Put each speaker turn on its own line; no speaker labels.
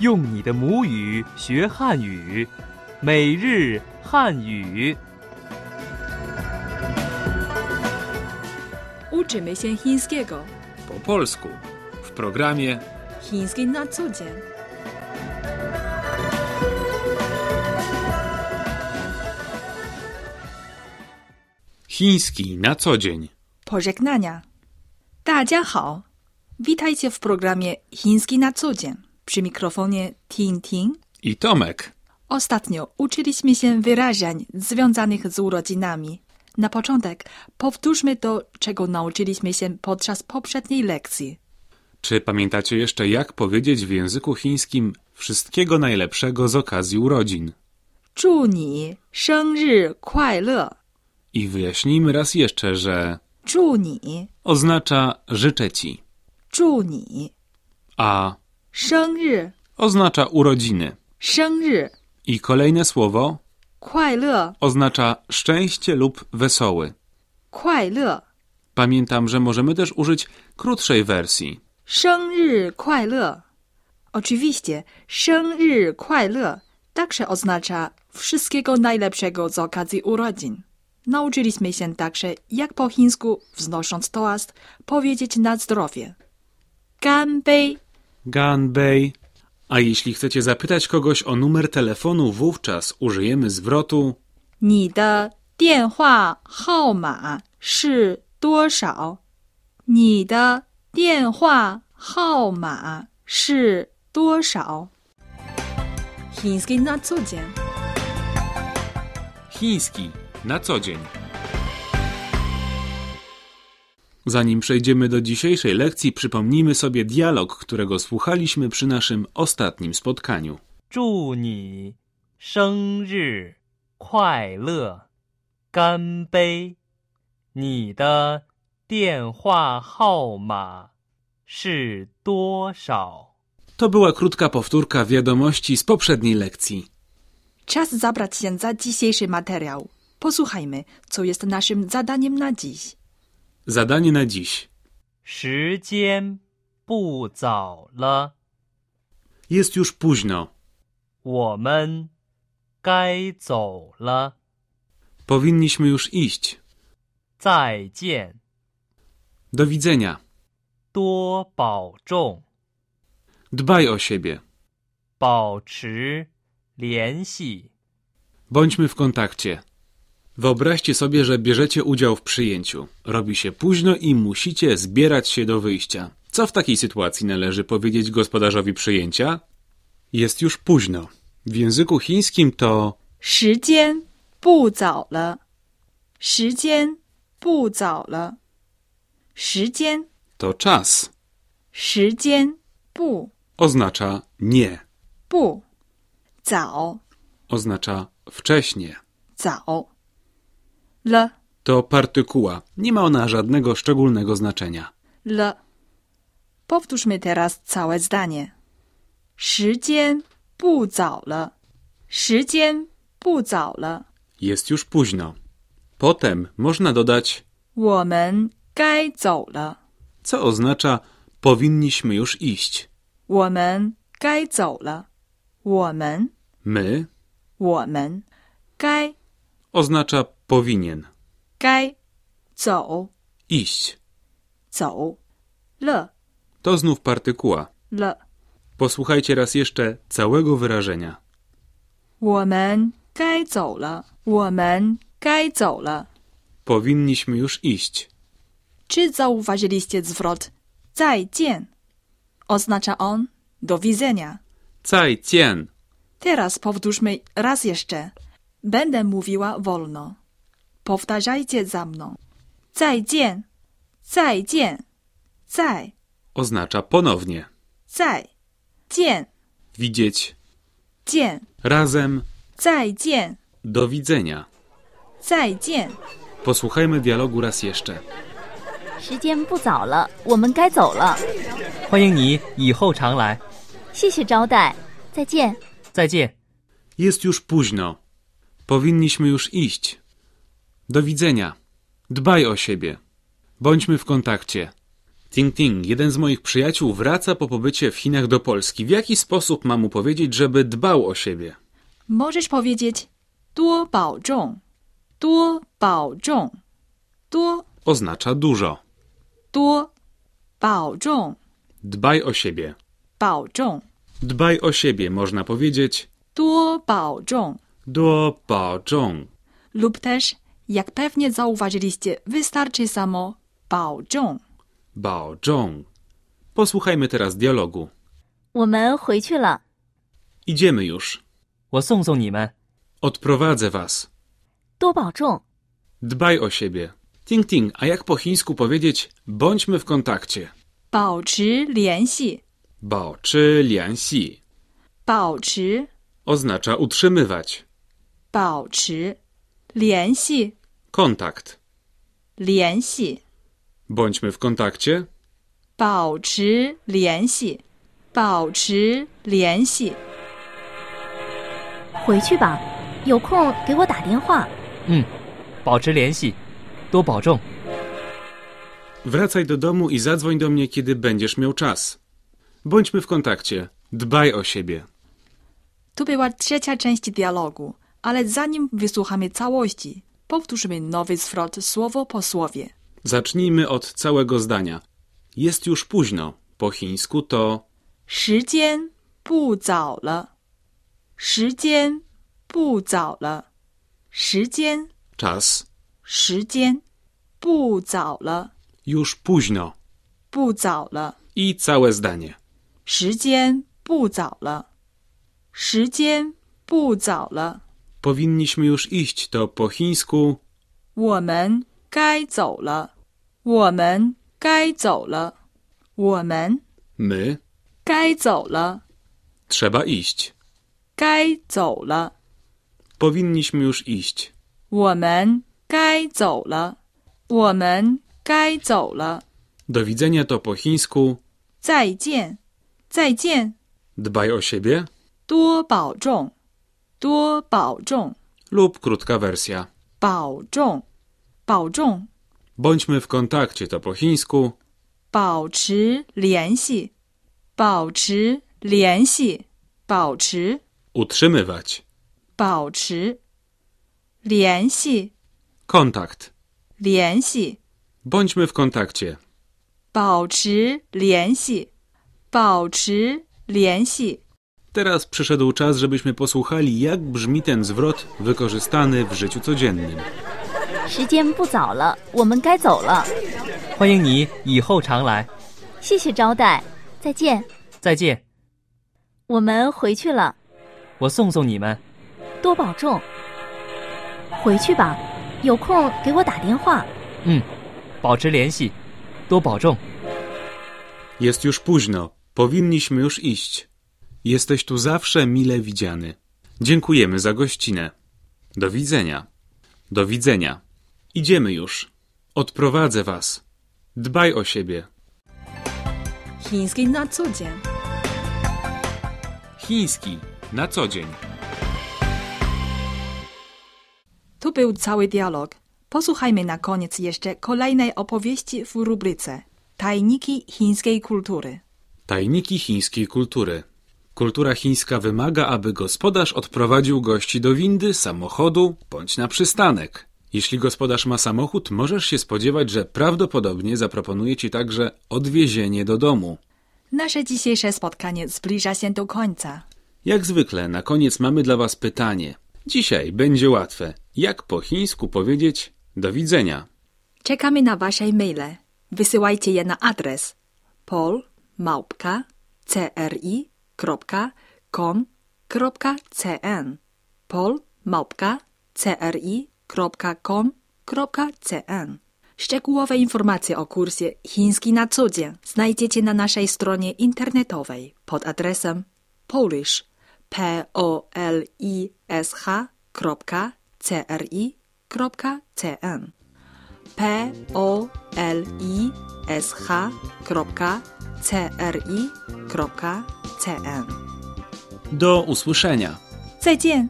用你的母语学汉语，每日汉语。
Uczymy się chińskiego.
po polsku w programie
Chiński na co dzień.
Chiński na co dzień.
Pożegnania. 大家好. Witajcie w programie Chiński na co dzień. Przy mikrofonie Tin Tin.
I Tomek.
Ostatnio uczyliśmy się wyrażeń związanych z urodzinami. Na początek powtórzmy to, czego nauczyliśmy się podczas poprzedniej lekcji.
Czy pamiętacie jeszcze, jak powiedzieć w języku chińskim wszystkiego najlepszego z okazji urodzin?
祝你生日快乐！
I wyjaśnijmy raz jeszcze, że
祝你，
oznacza życzę ci,
祝你
a
生日，
oznacza urodziny.
生日
I kolejne słowo
快乐，
oznacza szczęście lub wesoły.
快乐，
Pamiętam, że możemy też użyć krótszej wersji.
生日快乐。Oczywiście, 生日快乐 także oznacza wszystkiego najlepszego z okazji urodzin. Nauczyliśmy się także, jak po chińsku, wznosząc toast, powiedzieć na zdrowie. 干杯！
Ganbei. A jeśli chcecie zapytać kogoś o numer telefonu, wówczas użyjemy zwrotu
你的电话号码是多少？你的电话号码是多少？Chiński na co dzień.
chiński na co dzień. Zanim przejdziemy do dzisiejszej lekcji, przypomnijmy sobie dialog, którego słuchaliśmy przy naszym ostatnim spotkaniu.
祝你生日快乐！干杯！你的电话号码是多少？
To była krótka powtórka wiadomości z poprzedniej lekcji.
Czas zabrać się za dzisiejszy materiał. Posłuchajmy, co jest naszym zadaniem na dziś.
Zadanie na dziś.
时间不早了，
Jest już późno.
我们该走了。
Powinniśmy już iść.
再见，
Do widzenia.
多保重，
Dbaj o siebie.
保持联系。
Bądźmy w kontakcie. Wyobraźcie sobie, że bierzecie udział w przyjęciu. Robi się późno i musicie zbierać się do wyjścia. Co w takiej sytuacji należy powiedzieć gospodarzowi przyjęcia? Jest już późno. W języku chińskim to
时间不早了，时间不早了，时间，
to czas.
时间不
Oznacza nie.
不早
Oznacza wcześnie.
早了
To partykuła. Nie ma ona żadnego szczególnego znaczenia.
了。Powtórzmy teraz całe zdanie. 时间不早了，时间不早了，
Jest już późno. Potem można dodać
我们该走了，
co oznacza powinniśmy już iść.
我们该走了，我们
My
我们该
oznacza powinien,
该走
iść.
走了
To znów partykuła.
了，
Posłuchajcie raz jeszcze całego wyrażenia.
我们该走了，我们该走了。
Powinniśmy już iść.
Czy zauważyliście zwrot 再见? Oznacza on do widzenia.
Caj cien.
Teraz powtórzmy raz jeszcze. Będę mówiła wolno. Powtarzajcie za mną. 再见,再见,再,
oznacza ponownie.
再,见,
Widzieć
见,
razem.
再见,
Do widzenia.
再见.
Posłuchajmy dialogu raz jeszcze.
时间不早了，我们该走了。
欢迎你以后常来，
谢谢招待，再见。
再见。
Jest już późno. Powinniśmy już iść. Do widzenia. Dbaj o siebie. Bądźmy w kontakcie. Ting Ting, jeden z moich przyjaciół wraca po pobycie w Chinach do Polski. W jaki sposób mam mu powiedzieć, żeby dbał o siebie?
Możesz powiedzieć 多保重,多保重,多
Oznacza dużo.
多保重
Dbaj o siebie.
保重
Dbaj o siebie można powiedzieć
多保重
duo bao zhong.
lub też, jak pewnie zauważyliście, wystarczy samo 保重
Bao zhong. Posłuchajmy teraz dialogu.
我们回去了，
Idziemy już.
我送送你们，
Odprowadzę was.
多保重，
Dbaj o siebie. Ting Ting, a jak po chińsku powiedzieć bądźmy w kontakcie?
保持联系
Bao czy lian xi
保持
oznacza utrzymywać.
保持联系
Kontakt.
联系
Bądźmy w kontakcie.
保持联系保持联系
回去吧，有空给我打电话。
嗯，保持联系，多保重。
Wracaj do domu i zadzwoń do mnie, kiedy będziesz miał czas. Bądźmy w kontakcie. Dbaj o siebie.
To była trzecia część dialogu, ale zanim wysłuchamy całości, powtórzymy nowy zwrot słowo po słowie.
Zacznijmy od całego zdania. Jest już późno. Po chińsku to
时间不早了，时间不早了，时间
czas,
时间不早了，
już późno
不早了，
i całe zdanie.
时间不早了，时间不早了，
Powinniśmy już iść to po chińsku
我们该走了，我们该走了，我们
my
该走了，
trzeba iść.
该走了，
Powinniśmy już iść.
我们该走了，我们该走了。
Do widzenia to po chińsku
再见，再见，
dbaj o siebie
多保重，多保重，
lub krótka wersja.
保重，保重，
Bądźmy w kontakcie to po chińsku
保持联系，保持联系，保持，
utrzymywać.
保持，联系，
Kontakt.
联系，
Bądźmy w kontakcie.
保持联系，保持联系，
Teraz przyszedł czas, żebyśmy posłuchali, jak brzmi ten zwrot wykorzystany w życiu codziennym.
时间不早了，我们该走了。
欢迎你以后常来，
谢谢招待，再见。
再见。
我们回去了，
我送送你们，
多保重。回去吧，有空给我打电话。
嗯，保持联系，多保重。
Jest już późno. Powinniśmy już iść. Jesteś tu zawsze mile widziany. Dziękujemy za gościnę. Do widzenia. Do widzenia. Idziemy już. Odprowadzę was. Dbaj o siebie.
chiński na co dzień.
Chiński na co dzień.
To był cały dialog. Posłuchajmy na koniec jeszcze kolejnej opowieści w rubryce Tajniki chińskiej kultury.
Tajniki chińskiej kultury. Kultura chińska wymaga, aby gospodarz odprowadził gości do windy, samochodu bądź na przystanek. Jeśli gospodarz ma samochód, możesz się spodziewać, że prawdopodobnie zaproponuje ci także odwiezienie do domu.
Nasze dzisiejsze spotkanie zbliża się do końca.
Jak zwykle, na koniec mamy dla Was pytanie. Dzisiaj będzie łatwe. Jak po chińsku powiedzieć do widzenia?
Czekamy na Wasze maile. Wysyłajcie je na adres polmałpka.cri.com.cn polmałpka.cri.com.cn Szczegółowe informacje o kursie Chiński na co dzień znajdziecie na naszej stronie internetowej pod adresem polish polish.cri.cn p o l i s h c r i c n
Do usłyszenia.
再见。